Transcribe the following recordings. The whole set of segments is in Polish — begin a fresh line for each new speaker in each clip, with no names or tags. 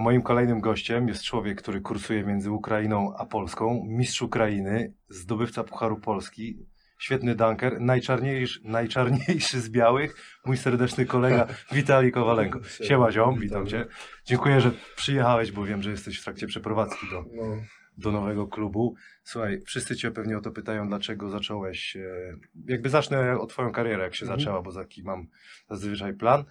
Moim kolejnym gościem jest człowiek, który kursuje między Ukrainą a Polską, mistrz Ukrainy, zdobywca Pucharu Polski, świetny dunker, najczarniejszy, najczarniejszy z białych, mój serdeczny kolega Witalij Kowalenko. Siema ziom, witam cię. Dziękuję, że przyjechałeś, bo wiem, że jesteś w trakcie przeprowadzki do,
No,
do nowego klubu. Słuchaj, wszyscy cię pewnie o to pytają, dlaczego zacząłeś, e, jakby zacznę od twoją karierę, jak się
Mhm.
zaczęła, bo taki mam zazwyczaj plan.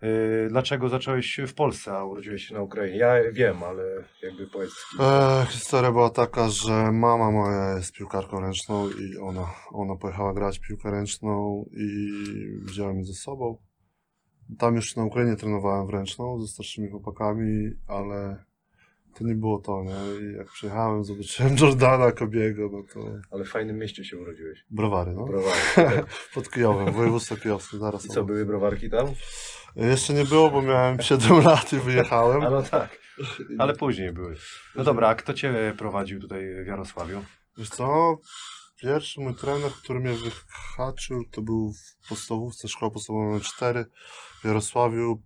E, Dlaczego zacząłeś w Polsce, a urodziłeś się na Ukrainie? Ja wiem, ale jakby powiedz.
e, historia była taka, że mama moja jest piłkarką ręczną i ona, ona pojechała grać w piłkę ręczną i wzięła mnie ze sobą. Tam jeszcze na Ukrainie trenowałem w ręczną ze starszymi chłopakami, ale to nie było to, nie? I jak przyjechałem, zobaczyłem Jordana Kobiego, no to
Ale w fajnym mieście się urodziłeś.
browary, no.
Browary.
Pod Kijowem, województwo kijowskie, zaraz.
I co, były browarki tam?
Jeszcze nie było, bo miałem 7 lat i wyjechałem.
A no tak, ale później były. No dobra, a kto cię prowadził tutaj w Jarosławiu?
Wiesz co, pierwszy mój trener, który mnie wyhaczył, to był w podstawówce, szkoła podstawowa nr 4 w Jarosławiu,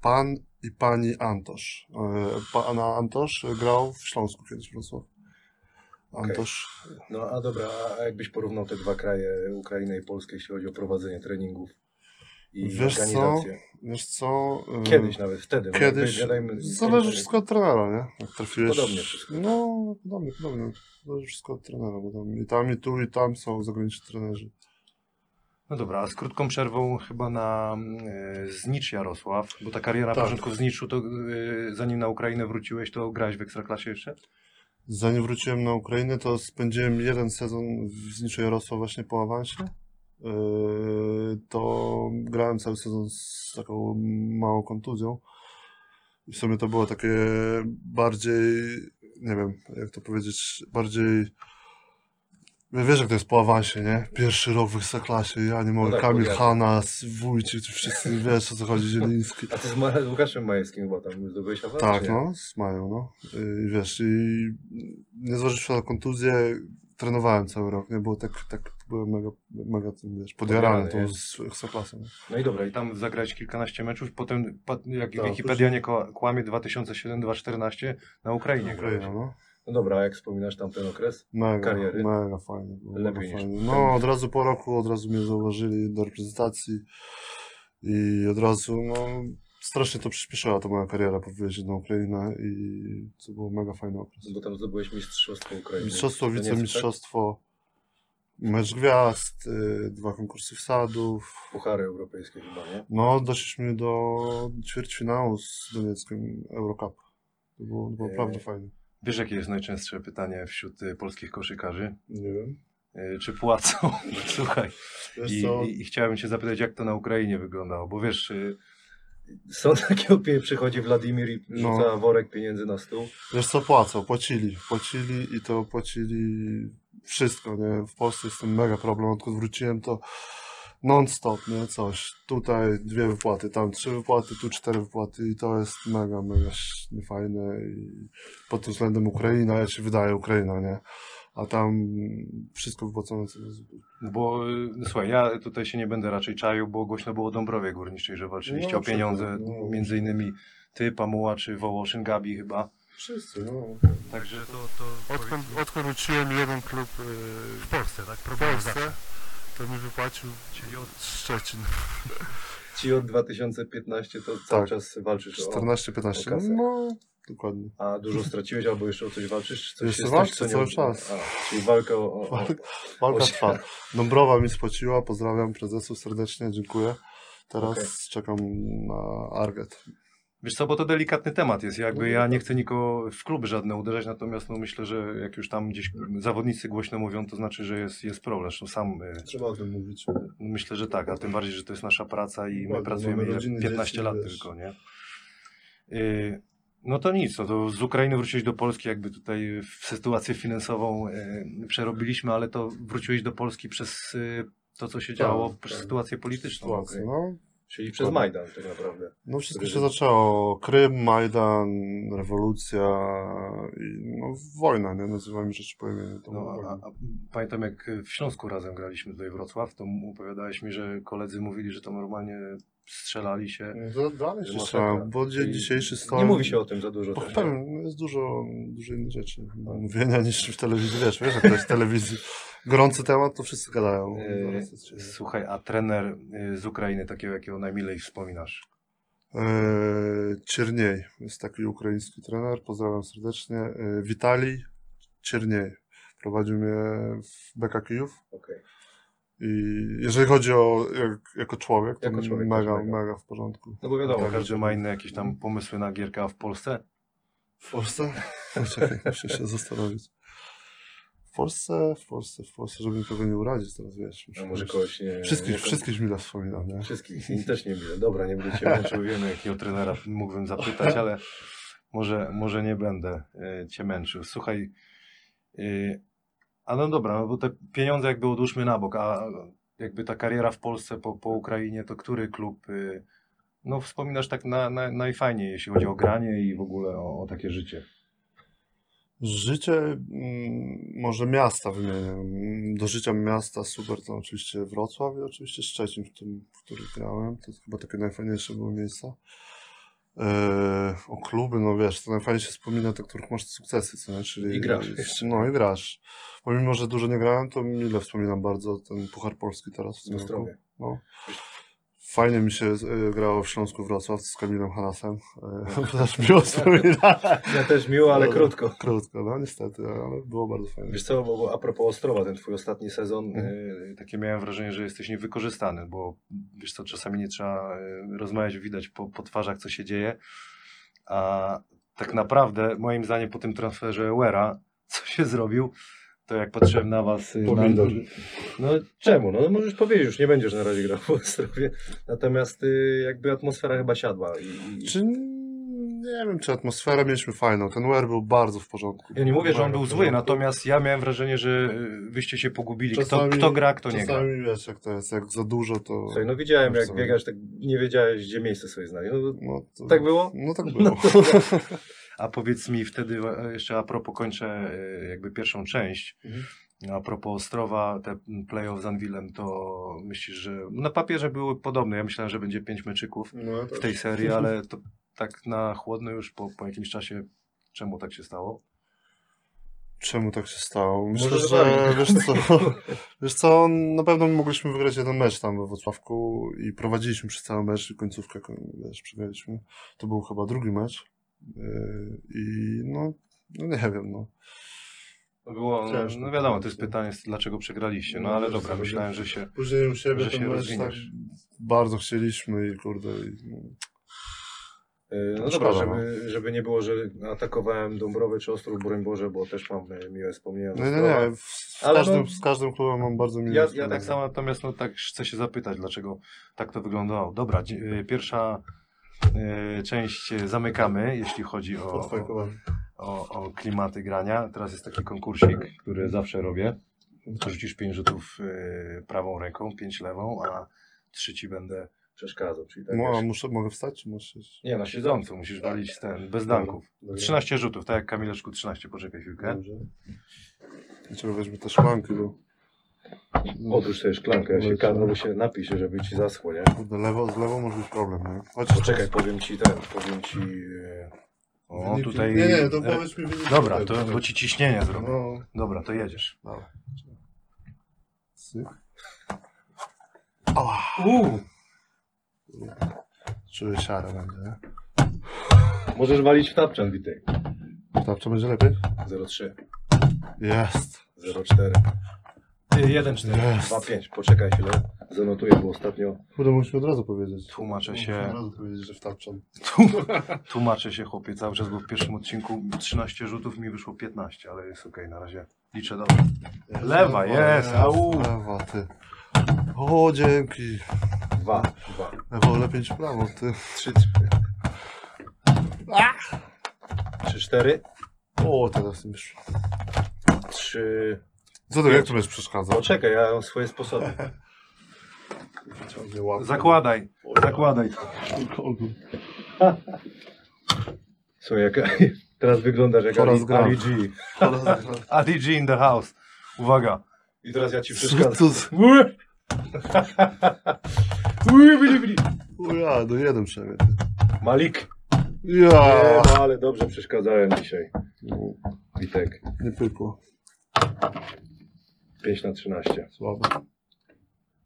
pan i pani Antosz. E, Pan Antosz grał w Śląsku kiedyś w Wrocławiu. Antosz.
No a dobra, a jakbyś porównał te dwa kraje, Ukrainę i Polskę, jeśli chodzi o prowadzenie treningów i
Wiesz co?
organizację?
Wiesz co? e,
Kiedyś nawet, wtedy. no
Kiedyś.
jakby, gadajmy-
Zależy wszystko od trenera, nie? Jak trafiłeś.
tak. Podobnie wszystko.
No, podobnie, podobnie. Zależy wszystko od trenera, bo tam i tam, i tu, i tam są zagraniczni trenerzy.
No dobra, a z krótką przerwą chyba na e, Znicz Jarosław, bo ta kariera na
Tak.
początku w Zniczu, to e, zanim na Ukrainę wróciłeś, to grałeś w Ekstraklasie jeszcze?
Zanim wróciłem na Ukrainę, to spędziłem jeden sezon w Zniczu Jarosław właśnie po awansie. Yy, To grałem cały sezon z taką małą kontuzją. I w sumie to było takie bardziej, nie wiem, jak to powiedzieć, bardziej... Ja Wiesz, jak to jest po awansie, nie? Pierwszy rok w Ekstraklasie, ja nie mogę,
tak,
Kamil
powiadam.
Hanas, Wójcik, ci wszyscy wiesz, o co chodzi, Zieliński.
A ty z, Ma- z Łukaszem Majewskim chyba tam zdobyłeś awans,
Tak,
nie?
no, z mają, no. I wiesz, i nie zważywszy na kontuzję, trenowałem cały rok, nie? Było tak, tak byłem mega, mega tym, wiesz, podjarany tą
nie?
z Ekstraklasą. nie?
No i dobra, i tam zagrałeś kilkanaście meczów, potem, pa- jak
Tak,
Wikipedia nie ko- kłamie, 2007-2014 na Ukrainie grałeś.
Ukraina, no.
No dobra, a jak wspominasz tamten okres?
Mega,
Kariery?
mega fajnie. Było,
Lepiej
mega
niż
fajnie.
ten.
No, od razu po roku, od razu mnie zauważyli do reprezentacji i od razu, no, strasznie to przyspieszyła ta moja kariera po wyjeździe na Ukrainę i to było mega fajny okres.
Bo tam zdobyłeś mistrzostwo Ukrainy.
Mistrzostwo,
To nie jest,
wicemistrzostwo, mecz gwiazd, y, dwa konkursy wsadów.
Tak? Puchary europejskie chyba, nie?
No, doszliśmy do ćwierćfinału z Donieckim Eurocup. To było, to było
Ej.
naprawdę fajnie.
Wiesz, jakie jest najczęstsze pytanie wśród y, polskich koszykarzy?
Nie wiem.
Y, Czy płacą? Słuchaj,
Wiesz
I,
co,
i, I chciałem cię zapytać, jak to na Ukrainie wyglądało, bo wiesz, y, są takie opie, przychodzi Wladimir i
No.
rzuca worek pieniędzy na stół.
wiesz co, płacą, płacili, płacili i to płacili wszystko, nie? W Polsce jest ten mega problem, odkąd wróciłem to non-stop, nie? Coś. Tutaj dwie wypłaty, tam trzy wypłaty, tu cztery wypłaty i to jest mega, mega ś- niefajne i pod tym względem Ukraina, jak się wydaje Ukraina, nie? A tam wszystko wypłacone co do zł.
No Bo y, no słuchaj, ja tutaj się nie będę raczej czaił, bo głośno było o Dąbrowie Górniczej, że walczyliście
No,
o pieniądze,
przecież, no.
między innymi ty, Pamuła czy Wołoszyn, Gabi chyba.
Wszyscy, no.
Także to...
Odkąd, odkąd uczyłem jeden klub e, w Polsce, tak? W Polsce, to mi wypłacił czyli od Szczecin.
Ci od 2015 to cały
Tak.
czas walczysz o...
14-15,
o kasę.
no dokładnie.
A dużo straciłeś albo jeszcze o coś walczysz? Czy coś
Wiesz co,
jest
walczę
coś, co nie-
cały czas.
A, czyli walka o... o, o.
Walka
Osiem.
trwa. Dąbrowa mi spłaciła, pozdrawiam prezesów serdecznie, dziękuję. Teraz
Okej.
czekam na Arget.
Wiesz co, bo to delikatny temat jest. Jakby
No,
ja nie
delikatny.
chcę nikogo w kluby żadne uderzać, natomiast no myślę, że jak już tam gdzieś zawodnicy głośno mówią, to znaczy, że jest, jest problem. Zresztą sam y,
Trzeba o tym mówić.
myślę, że tak, a tym bardziej, że to jest nasza praca i my
Dokładnie,
pracujemy
mamy
ile?
rodziny,
15
dzieci,
lat
wiesz.
tylko, nie? Y, No to nic, no to z Ukrainy wróciłeś do Polski, jakby tutaj w sytuację finansową y, przerobiliśmy, ale to wróciłeś do Polski przez y, to, co się
Tak,
działo,
tak.
przez sytuację polityczną.
Sytuacja,
okej.
no.
Czyli przez Majdan tak naprawdę.
No wszystko
Który-
się zaczęło. Krym, Majdan, rewolucja i no, wojna, nie? Nazywamy rzeczy po imieniu. To
No,
była wojna.
a, a, pamiętam jak e, w Śląsku razem graliśmy tutaj Wrocław, to mu opowiadałeś mi, że koledzy mówili, że tam normalnie strzelali się.
No, to Dalej się
Masakra.
trzeba, bo dzień
Czyli
dzisiejszy stan...
Nie mówi się o tym za dużo. też, nie?
Powiem, no jest dużo, dużo innych rzeczy do mówienia niż w telewizji, wiesz, wiesz, jak to jest w telewizji gorący temat, to wszyscy gadają.
Yy,
Zaraz jest ciebie.
Słuchaj, a trener y, z Ukrainy, takiego jakiego najmilej wspominasz?
Yy, Czerniej jest taki ukraiński trener, pozdrawiam serdecznie. Yy, Witalij Czerniej prowadził mnie w BK Kijów.
Okej.
I jeżeli chodzi o jak, jako człowiek, to
Jako człowiek
mega,
też
mega,
mega.
w porządku.
No bo wiadomo,
Tak.
każdy ma inne jakieś tam pomysły na gierkę, a w Polsce?
W Polsce? Czekaj, muszę się zastanowić. W Polsce, w Polsce, w Polsce, żeby nikogo nie urazić teraz, wiesz.
No
muszę-
nie...
Wszystkich, wszystkich mi wspominam, nie?
Wszystkich, też nie wiem. Dobra, nie będę cię męczył. Wiemy, jakiego trenera mógłbym zapytać, ale może, może nie będę e, cię męczył. Słuchaj, y, a no dobra, no bo te pieniądze jakby odłóżmy na bok, a jakby ta kariera w Polsce po, po Ukrainie, to który klub, y, no wspominasz tak na, na, najfajniej, jeśli chodzi o granie i w ogóle o, o takie życie?
Życie, mm, może miasta wymienię. Mm, Do życia miasta super to oczywiście Wrocław i oczywiście Szczecin, w tym, w którym grałem. To chyba takie najfajniejsze było miejsca. Eee, o kluby, no wiesz, to najfajniej się wspomina te, których masz sukcesy, co nie? Czyli,
I grasz jeszcze.
No i grasz. Pomimo, że dużo nie grałem, to mile wspominam bardzo ten Puchar Polski teraz. W tym roku. No. Fajnie mi się e, grało w Śląsku Wrocław z Kamilem Hanasem. E, też miło wspominam.
Ja też miło,
ale krótko. Krótko, no niestety, ale było bardzo fajnie.
Wiesz co, bo a propos Ostrowa, ten twój ostatni sezon,
Mhm.
y, takie miałem wrażenie, że jesteś niewykorzystany, bo wiesz co, czasami nie trzeba y, rozmawiać, widać po, po twarzach, co się dzieje, a tak naprawdę, moim zdaniem, po tym transferze Wera, co się zrobił, to jak patrzyłem na was... y, Na,
Pomidor.
no czemu? No możesz powiedzieć, już nie będziesz na razie grał w Ostrowie, natomiast y, jakby atmosfera chyba siadła i... i...
Czy nie wiem, czy atmosferę mieliśmy fajną. Ten UR był bardzo w porządku.
Ja nie mówię, że on był
Bardzo w
zły,
porządku.
natomiast ja miałem wrażenie, że y, wyście się pogubili. Kto,
Czasami-
kto gra, kto nie gra.
Czasami wiesz, jak to jest, jak za dużo, to.
Słuchaj, no widziałem
Wiesz
jak
co?
biegasz, tak nie wiedziałeś gdzie miejsce sobie znaleźć. No,
No, to...
tak było?
No tak było.
No to,
A powiedz mi wtedy, e, jeszcze a propos kończę e, jakby pierwszą część.
Mhm.
A propos Ostrowa, te playoff z Anwilem, to myślisz, że na papierze były podobne. Ja myślałem, że będzie pięć meczyków
no,
w tej serii, ale to tak na chłodno już po, po jakimś czasie. Czemu tak się stało?
Czemu tak się stało? Myślę,
Może tak.
że
zawalił.
wiesz co, wiesz co, na pewno mogliśmy wygrać jeden mecz tam we Wrocławku i prowadziliśmy przez cały mecz i końcówkę wiesz, przegraliśmy. To był chyba drugi mecz. Yy, I no, no nie wiem, no.
No Było,
Ciężko
no wiadomo, to jest
powiedzieć.
pytanie, dlaczego przegraliście, no
No,
ale
wiesz,
dobra,
co,
myślałem, że się
Później u siebie
Że
ten
się
mecz
rozwiniesz.
bardzo chcieliśmy i kurde. I, no.
Y,
Yy, no
Szkoda,
dobra, żeby, żeby nie było, że atakowałem Dąbrowę czy Ostrów, broń Boże, bo też mam y, miłe wspomnienia. z
No nie,
Ostrowa.
nie, w, z,
Ale
każdym,
no-
z każdym klubem mam bardzo miłe
Ja, ja
wspomnienia.
tak samo, natomiast no, tak chcę się zapytać, dlaczego tak to wyglądało. Dobra, dzi- y, pierwsza y, część y, zamykamy, jeśli chodzi o,
Po twoim
o,
klubem.
o, o klimaty grania. Teraz jest taki konkursik, który zawsze robię. Rzucisz pięć rzutów y, prawą ręką, pięć lewą, a trzy ci będę...
Przeszkadzał, czyli tak
No, a
wiesz,
muszę, mogę wstać czy muszę iść?
Nie, na siedzącą musisz walić ten,
No.
bez danków. 13 rzutów, tak jak Kamileczku 13, poczekaj chwilkę.
Dobrze. Dlaczego weźmy te szklanki, bo...
Odłóż sobie szklankę, ja się
Dobrze.
kadnę, bo się napij się, żeby ci zaschło, nie?
Kurde, lewo, z lewą może być problem, nie? Chociaż
Poczekaj, powiem ci ten, powiem ci... E, y,
O, tutaj...
Nie, nie, to powiedz mi wyniki.
Dobra, to, bo ci ciśnienie zrobię.
No,
Dobra, to jedziesz.
dobra. Syk. Ała. Czuję siarę będę, nie?
Możesz walić w tapczan, Witek.
Tarcza będzie lepiej?
03,
Jest.
04,
Jeden cztery.
Jest.
25, poczekaj chwilę, zanotuję, bo ostatnio...
Kurde, musimy od razu powiedzieć.
Tłumaczę
Musimy
się,
od razu powiedzieć, że w tarczą.
tłumaczę się chłopie cały czas, bo w pierwszym odcinku 13 rzutów mi wyszło 15, ale jest okej, na razie liczę dobrze.
Jest.
Lewa, jest, au.
Lewa, ty. O, dzięki.
Dwa, dwa,
Lewo lepiej niż prawo, ty.
trzy, trzy. Trzy, cztery,
O, teraz mi wyszło.
trzy...
Co to, jak to będziesz przeszkadzał?
Poczekaj, ja mam swoje sposoby. Ciągnie łapę.
Zakładaj, zakładaj.
Słuchaj, jak, teraz wyglądasz jak
Coraz
Ali,
gra.
Ali G.
Ali G in the house. Uwaga.
I teraz ja ci
Co
przeszkadzam.
to za...
Ue! Ue, bili, bili.
Ja, no jeden przynajmniej.
Malik. Nie,
Ja.
no ale dobrze przeszkadzałem dzisiaj. Witek,
Nie pykło.
5 na 13.
Słabo.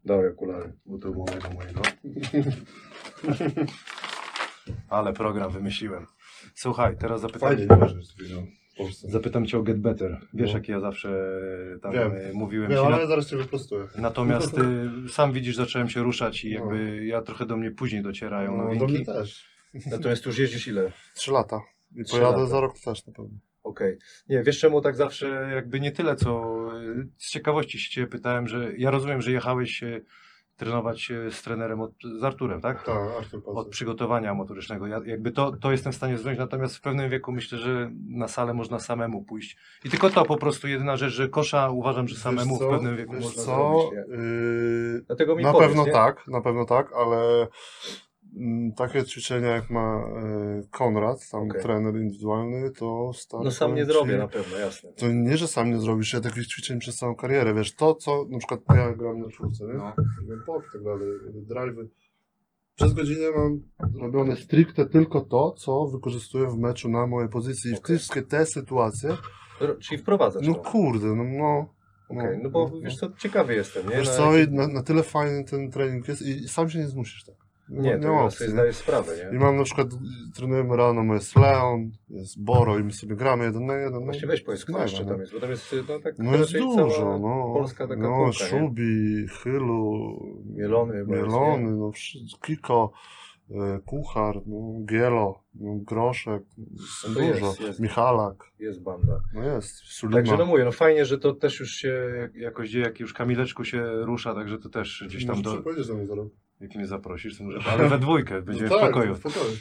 Dawaj okulary.
Bo to było mojego,
no.
mojego. Ale program wymyśliłem. Słuchaj, teraz zapytam,
Fajnie, nie możesz zwiedzić.
zapytam cię o Get Better. Wiesz,
No.
jak ja zawsze e, tam
Wiem.
e, mówiłem
Nie,
ci na
ale zaraz cię wyprostuję.
Natomiast y, sam widzisz, zacząłem się ruszać i jakby ja trochę do mnie później docierają
No, do mnie
nowinki.
też.
Natomiast już jeździsz ile?
Trzy lata. I
Trzy
pojadę
lata.
za rok też na pewno.
Okej.
Nie, wiesz czemu tak zawsze jakby nie tyle, co y, z ciekawości się ciebie pytałem, że ja rozumiem, że jechałeś y, trenować y, z trenerem od, z Arturem, tak?
Tak, Artur
Od
Pazur.
przygotowania motorycznego. Ja, jakby to, to jestem w stanie zrozumieć, natomiast w pewnym wieku myślę, że na salę można samemu pójść. I tylko to po prostu jedyna rzecz, że kosza uważam, że
Wiesz
samemu
co?
w pewnym wieku
Wiesz
można.
co?
zrobić,
Yy,
Dlatego mi
Na
powiedz,
pewno
nie?
tak, na pewno tak, ale mm, takie ćwiczenia jak ma e, Konrad, tam
Okej.
trener indywidualny, to stary.
No sam nie
powiem ci,
zrobię na pewno, jasne.
To nie, że sam nie zrobisz, ja takich ćwiczeń przez całą karierę, wiesz, to co, na przykład ja gram na czwórce, nie?
No.
Gram pop, tak dalej, drive'y. Przez godzinę mam robione stricte tylko to, co wykorzystuję w meczu na mojej pozycji i
Okej.
wszystkie te sytuacje,
R- Czyli wprowadzasz
no
to.
kurde, no no.
Okej, no bo wiesz co, ciekawy jestem, nie? no
Wiesz
Na
co,
jakim-
i na, na tyle fajny ten trening jest i sam się nie zmusisz tak.
Nie,
ma
to ja
opcji,
sobie
nie?
zdajesz sprawę, nie?
I mam na przykład, trenujemy rano, jest Leon, jest Boro i my sobie gramy jeden na jeden. no.
Właśnie weź powiedz, kto
Mega,
jeszcze
no.
tam jest, bo tam jest no, tak
No jest
raczej
dużo,
cała
no.
Polska taka
no,
półka, nie?
Szubi, Chylu,
Mielony chyba jest,
Mielony, no, wszy- Kiko, e, Kuchar, no, Gielo, no, Groszek, jest
No to
dużo,
jest, jest.
Michalak,
jest banda.
no jest, Sulima.
Także no mówię, no fajnie, że to też już się...
Jakoś dzieje, jak już Kamileczku się rusza, także to też gdzieś
no,
tam do,
Powiedzieć do mnie zaraz.
Jak mnie zaprosisz, to może. Ale we dwójkę będziemy
tak,
w
No
pokoju.
w pokoju.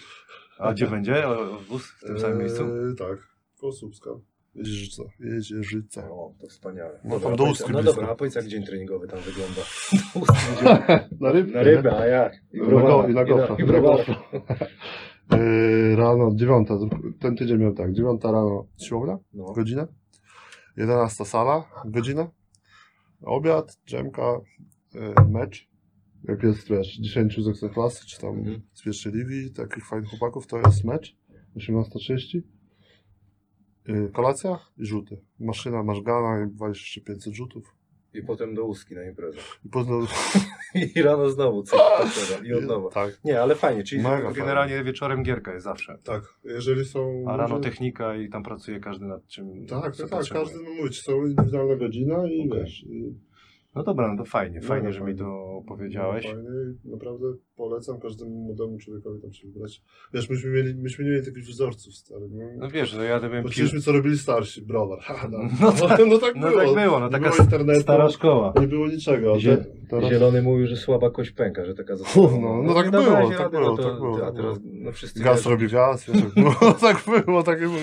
A gdzie będzie? O- o Wóz w tym samym
Eee,
miejscu?
E, tak, Kosubska, Jeździerzyca,
Tak.
Jeździerzyca.
O, to wspaniale.
No,
Dobra,
tam
a
do
powiedz-
Ustki
No
blisko.
dobra, a powiedz jak dzień treningowy tam wygląda. Do Ustki idziemy.
Na rybę.
Na rybę, a jak? I
Na
browara,
go- i na gofra.
I browara.
Yy, rano, dziewiąta, ten tydzień miał tak, dziewiąta rano siłownia,
No.
godzina, jedenasta sala, godzina, obiad, drzemka, yy, mecz, jak jest, wiesz, 10 z Ekstraklasy, czy tam
Mhm.
z pierwszej ligi, takich fajnych chłopaków, to jest mecz, 18.30, yy, kolacja i rzuty, maszyna, masz gana i walisz jeszcze 500 rzutów
I potem do Ustki na imprezę.
i potem...
I rano znowu coś takiego. I od nowa.
Tak,
Nie, ale fajnie, czyli
Mega
Generalnie wieczorem gierka jest zawsze.
tak, jeżeli są...
A rano technika i tam pracuje każdy nad czym.
Tak,
co
tak, tak.
potrzebuje.
Każdy ma mówić, są indywidualna godzina i
Okej.
wiesz. I
No dobra, no to fajnie,
No,
fajnie,
no,
że
fajnie.
mi to
No,
powiedziałeś.
No, Fajnie, i naprawdę polecam każdemu młodemu człowiekowi tam się wybrać. Wiesz, myśmy, mieli, myśmy nie mieli takich wzorców starych. No.
No wiesz, no ja bym
Bo
pił.
chcieliśmy, co robili starsi, browar. Ha, no,
No
no,
tak,
tak, no tak
No
było.
tak było, no
Nie
taka
było internetu,
stara szkoła.
nie było niczego. a
Zie-
te- teraz-
No, Zielony mówił, że słaba kość pęka, że taka
no, no
nie
tak
dawałeś
było, tak
rady,
było,
no to-
tak było,
A
tak
teraz
było.
no wszyscy
Gaz
wiedzą.
robi gaz, wiesz, tak było, tak było, takie było.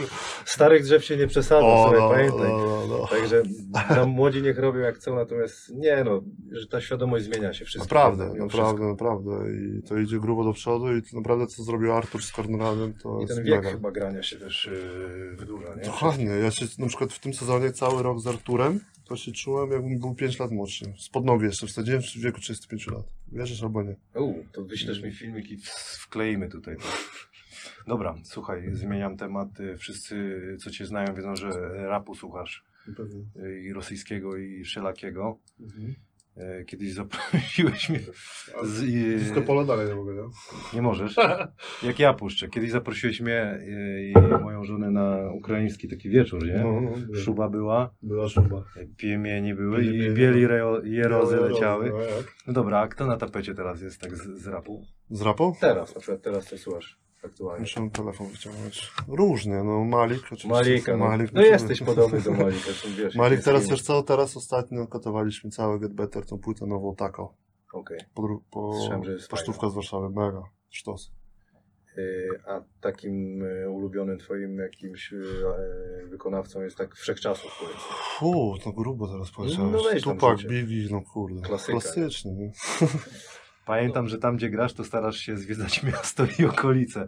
Starych drzew się nie przesadza,
O,
sobie
no, no,
pamiętaj.
no, no.
Także tam młodzi niech robią jak chcą, natomiast nie no, że ta świadomość zmienia się wszystko.
Naprawdę,
mimo
naprawdę,
wszystko.
naprawdę. I to idzie grubo do przodu i to naprawdę, co zrobił Artur z Konradem, to
I
jest
ten wiek
mega.
chyba grania się też yy, wydłuża, nie?
Dokładnie. Ja się na przykład w tym sezonie cały rok z Arturem, to się czułem, jakbym był 5 lat młodszy. Spod nogi jeszcze wsadziłem w wieku 35 lat. Wierzysz albo nie?
U, to wyślesz
Wyślesz
mi
mi filmik i w- wkleimy tutaj. Dobra, słuchaj, zmieniam temat. Y, Wszyscy, co cię znają, wiedzą, że rapu słuchasz
Pewnie.
yy,
y, i rosyjskiego, i wszelakiego.
Mhm.
E, Kiedyś zaprosiłeś mnie. Z,
Yy,
Wszystko
e,
pola dalej nie mogę, nie?
nie możesz. Jak ja puszczę. Kiedyś zaprosiłeś mnie e, i moją żonę na ukraiński taki wieczór, nie?
No, no, była-
Szuba była,
była szuba.
piemieni były i
Piemieni,
bieli
no.
reo- jerozy
Białe
leciały.
rozy, no jak?
No dobra, a kto na tapecie teraz jest tak z, z rapu?
Z rapu?
Teraz, na przykład teraz to słuchasz aktualnie.
Muszę telefon wyciągnąć. Różnie, no Malik oczywiście.
Malika, no,
Malik,
no jesteś podobny do Malika, czym wiesz.
Malik,
jakim
teraz
jest
wiesz co? Teraz ostatnio katowaliśmy cały Get Better, tą płytę nową Taco.
kim- Okej.
Po, dru- po,
Słyszałem, że jest
pocztówka z Warszawy, mega, sztos.
Y, A takim y, ulubionym twoim jakimś y, e, wykonawcą jest tak wszechczasów, powiedzmy.
Fuu, to no grubo teraz powiedziałeś.
No weź tam
Tupak,
życie.
Biggie, no kurde.
Klasyka,
Klasyczny, nie?
Pamiętam,
No.
że tam, gdzie grasz, to starasz się zwiedzać miasto i okolice.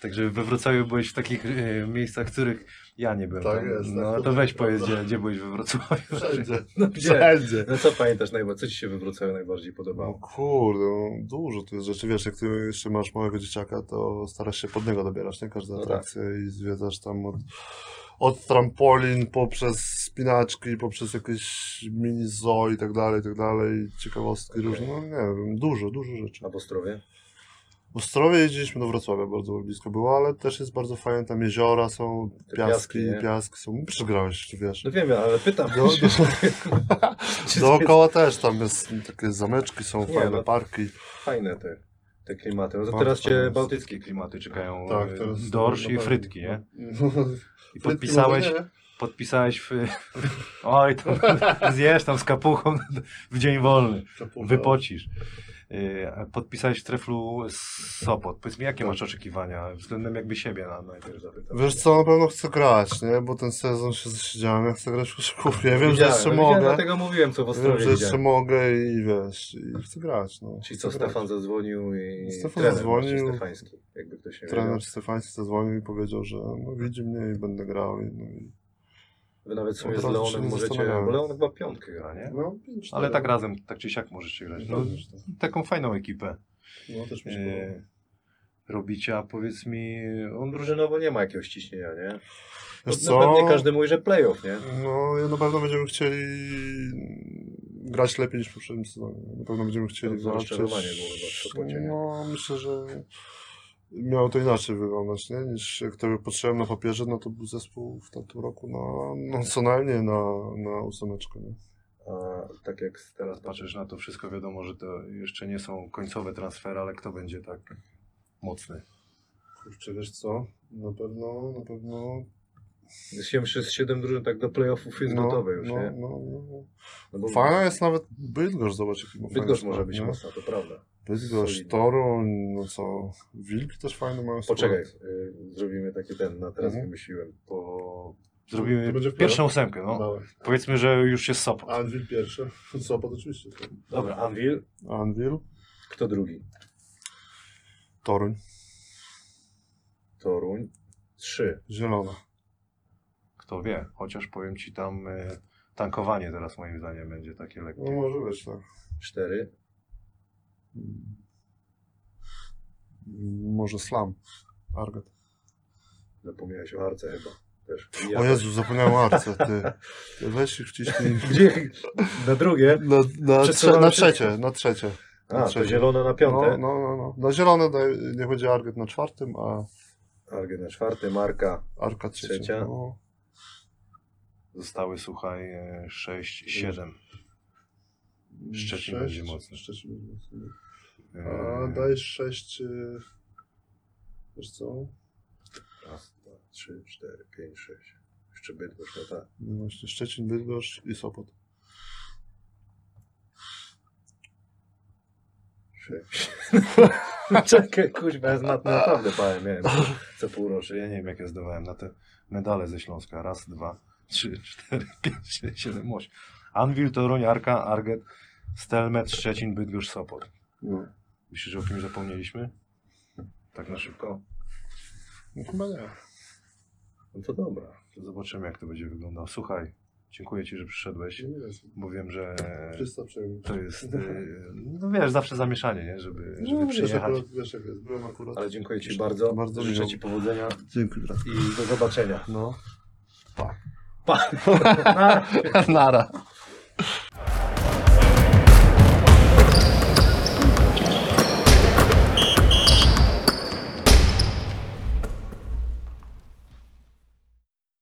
Także we Wrocławiu byłeś w takich e, miejscach, których ja nie byłem.
Tak
Tam-
jest, tak,
no
to
to weź
prawda.
powiedz, gdzie, gdzie byłeś we Wrocławiu.
Wszędzie.
No gdzie?
Wszędzie.
No co pamiętasz najbardziej? Co ci się we Wrocławiu najbardziej podobało?
No kurde, no, dużo tu jest rzeczy. Wiesz, jak ty jeszcze masz małego dzieciaka, to starasz się pod niego dobierać, nie? Każdą
No tak.
atrakcję i zwiedzasz tam od, od trampolin poprzez spinaczki, poprzez jakieś mini zoo i tak dalej, i tak dalej, ciekawostki
Okej.
różne, no nie wiem, dużo, dużo rzeczy.
No.
Na Ostrowie?
Ostrowie jeździliśmy do Wrocławia, bardzo blisko było, ale też jest bardzo fajne, tam jeziora są,
Te
piaski,
piaski, nie?
piaski są, przegrałeś, wiesz.
No wiem, ale pytam.
Do, do,
Czy to jest
dookoła też tam jest takie zameczki, są
Nie,
fajne
no.
parki.
fajne te, te klimaty? No to
Bardzo
teraz cię
fajne.
bałtyckie klimaty.
Klimaty czekają
Tak,
e,
teraz-
dorsz
no
i
tak.
frytki, nie?
No,
I podpisałeś,
może nie.
podpisałeś w, oj, to zjesz tam z kapuchą w dzień wolny,
No.
wypocisz. Y, a Podpisałeś w treflu Sopot. Powiedz mi, jakie
Tak.
masz oczekiwania względem jakby siebie na, najpierw zapytam.
Wiesz co, na pewno chcę grać, nie? Bo ten sezon się zasiedziałem, ja chcę grać w koszykówkę. Ja wiem, że
Widziałem,
jeszcze
no widziałem,
mogę.
Dlatego mówiłem, co w Ostrowie
Wiem, że jeszcze
widziałem.
mogę i wiesz, i chcę grać, no.
Czyli co,
Chcę grać.
Stefan zadzwonił i
Stefan
trener
zadzwonił.
Marcin Stefański, jakby ktoś nie wiedział.
Trener Stefański zadzwonił i powiedział, że no, widzi mnie i będę grał. I, no, i...
Wy nawet sobie
Od
z
razu się
Leonem
nie
możecie,
zastanawiałem.
bo Leon chyba piątkę gra, nie?
No, pięć,
Ale
cztery.
tak razem, tak czy siak możecie grać. No, taką fajną ekipę
No, też mi się
e,
podoba.
robicie, a powiedz mi, on
Drużynowo nie ma jakiegoś ciśnienia, nie?
Wiesz
No
co?
pewnie każdy mówi, że playoff, nie?
No, ja na pewno będziemy chcieli grać lepiej niż w poprzednim sezonie. Na pewno będziemy chcieli
To rozczarowanie
walczyć.
było chyba w Sopocie, nie?
No, myślę, że miało to inaczej wyglądać, nie? Niż jak to patrzyłem na papierze, no to był zespół w tamtym roku na, no, co najmniej na, na ósemeczkę, nie?
A tak jak teraz
teraz patrzysz na to wszystko, wiadomo, że to jeszcze nie są końcowe transfery, ale kto będzie tak mocny?
Kurczę, wiesz co? Na pewno, na pewno...
Się przez 7 drużyn tak do playoffów jest
no,
gotowe już,
no,
nie?
No, no,
No bo
Fajna jest nawet Bydgoszcz, zobacz jaki ma
Bydgoszcz
fajny
może
skład,
być
nie?
no.
mocna, to prawda.
Bydgoszcz,
Solidny.
Toruń, no co... Wilki też fajne mają skład.
Poczekaj, y, zrobimy taki ten, na teraz
Mhm.
wymyśliłem.
Bo
To
zrobimy
będzie w
pierwszą ósemkę, no.
Dawaj.
Powiedzmy, że już jest Sopot.
Anvil pierwszy, Sopot oczywiście. tak.
Dobra, Anvil,
Anvil,
kto drugi?
Toruń,
Toruń. Trzy.
Zielona.
Kto wie, chociaż powiem ci tam e, tankowanie teraz moim zdaniem będzie takie
No
lekkie.
może być tak.
Cztery.
Mm, Może slam. Argot.
Zapomniałeś o Arce chyba. Też. I
O
ja.
Jezu, zapomniałem o arce, ty. Ty Weź ich wciśnij.
Gdzie? Na drugie?
Na, na, trze- na trzecie, na trzecie. Na
A, to
trzecie.
zielona na
No,
piąte.
no, no, no. Na zielone daj, nie będzie Argot na czwartym, a
Argę no. na czwarte, Marka.
Arka trzecia.
Trzecia.
No,
Zostały, słuchaj,
e,
6-7. Szczecin
sześć.
będzie mocny. Eee.
Szczecin będzie mocny.
E,
A daj sześć... y, Wiesz co?
Raz, dwa, trzy, cztery, pięć, sześć. Jeszcze Bydgoszcz, no tak.
No właśnie, Szczecin, Bydgoszcz i Sopot.
Sześć. Czekaj, kuźwa, ja z mat naprawdę pałem, miałem co pół roku.
Że ja nie wiem, jak ja zdawałem na te medale ze Śląska. Raz, dwa, trzy, cztery, pięć, sześć, siedem, osiem. Anwil, Toruń, Arka, Arget, Stelmet, Szczecin, Bydgoszcz, Sopot.
No.
Myślisz, że o kimś zapomnieliśmy? Tak na szybko.
no chyba nie.
No to dobra.
To zobaczymy, jak to będzie wyglądało. Słuchaj, dziękuję Ci, że przyszedłeś,
Nie wiem.
bo wiem, że
Czysta przyjemność.
to jest, e, no wiesz, zawsze zamieszanie, nie? Żeby, No, żeby przyjechać.
No, wiesz jak jest, byłem akurat.
Ale dziękuję Ci bardzo.
Bardzo
Życzę
miło.
Ci powodzenia
Dzięki brat.
i do zobaczenia.
No.
Pa!
Nara.